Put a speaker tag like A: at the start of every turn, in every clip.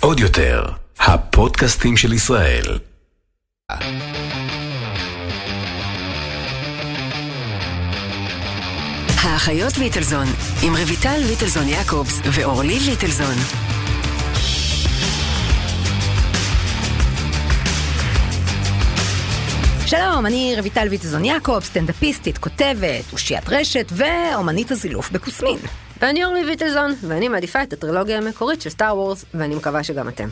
A: עוד יותר, הפודקאסטים של ישראל.
B: האחיות ליטלזון, עם רויטל ליטלזון יעקובס ואורלי ליטלזון. שלום, אני רויטל ויטלזון יעקב, סטנדאפיסטית, כותבת, אושיית רשת ואומנית הזילוף בקוסמין.
C: ואני אורלי ויטלזון, ואני מעדיפה את הטרילוגיה המקורית של סטאר וורס, ואני מקווה שגם אתם.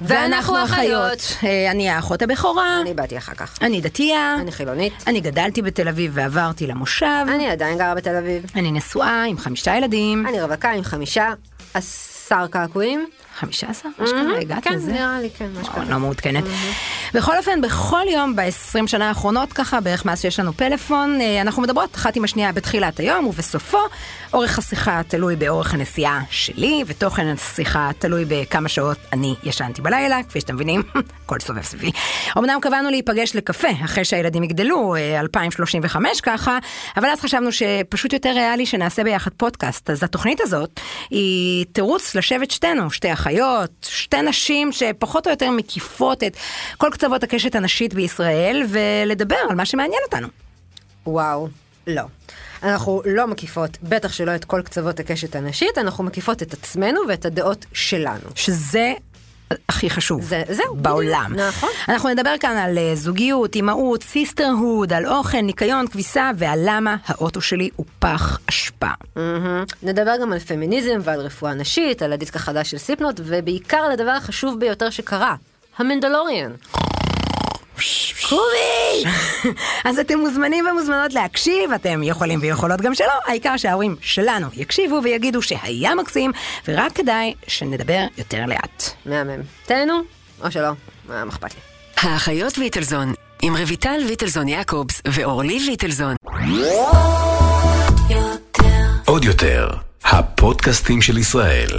B: ואנחנו אחיות. אה, אני האחות הבכורה,
C: אני באתי אחר כך.
B: אני דתייה,
C: אני חילונית.
B: אני גדלתי בתל אביב ועברתי למושב,
C: אני עדיין גרה בתל אביב.
B: אני נשואה עם חמישה ילדים,
C: אני רווקה עם חמישה עשר קעקועים.
B: 15? משהו כזה, הגעת
C: כן,
B: לזה?
C: נראה לי, כן, משהו
B: וואו,
C: כזה.
B: לא מעודכנת. בכל אופן, בכל יום ב-20 שנה האחרונות ככה, בערך מאז שיש לנו פלאפון, אה, אנחנו מדברות אחת עם השנייה בתחילת היום ובסופו. אורך השיחה תלוי באורך הנסיעה שלי, ותוכן השיחה תלוי בכמה שעות אני ישנתי בלילה, כפי שאתם מבינים, הכל סובב סביבי. אמנם קבענו להיפגש לקפה, אחרי שהילדים יגדלו, אה, 2035 ככה, אבל אז חשבנו שפשוט יותר ריאלי שנעשה ביחד פודקאסט. אז התוכנית הזאת היא תירוץ לשבת שתינו, שתי אחיות, שתי נשים שפחות או יותר מקיפות את כל קצוות הקשת הנשית בישראל, ולדבר על מה שמעניין אותנו.
C: וואו, לא. אנחנו לא מקיפות, בטח שלא את כל קצוות הקשת הנשית, אנחנו מקיפות את עצמנו ואת הדעות שלנו.
B: שזה... הכי חשוב
C: זה- זהו,
B: בעולם.
C: בדיוק, נכון.
B: אנחנו נדבר כאן על אה, זוגיות, אימהות, סיסטרהוד, על אוכל, ניקיון, כביסה ועל למה האוטו שלי הוא פח אשפה.
C: מהמם. Mm-hmm. נדבר גם על פמיניזם ועל רפואה נשית, על הדיסק החדש של סיפנוט, ובעיקר על הדבר החשוב ביותר שקרה, המנדלוריאן.
B: קובי! אז אתם מוזמנים ומוזמנות להקשיב, אתם יכולים ויכולות גם שלא, העיקר שההורים שלנו יקשיבו ויגידו שהיה מקסים, ורק כדאי שנדבר יותר לאט.
C: מהמם. תהנו, או שלא, מה מה אכפת לי.
B: האחיות ויטלזון, עם רויטל ויטלזון יעקובס ואורלי ויטלזון.
A: עוד יותר, הפודקאסטים של ישראל.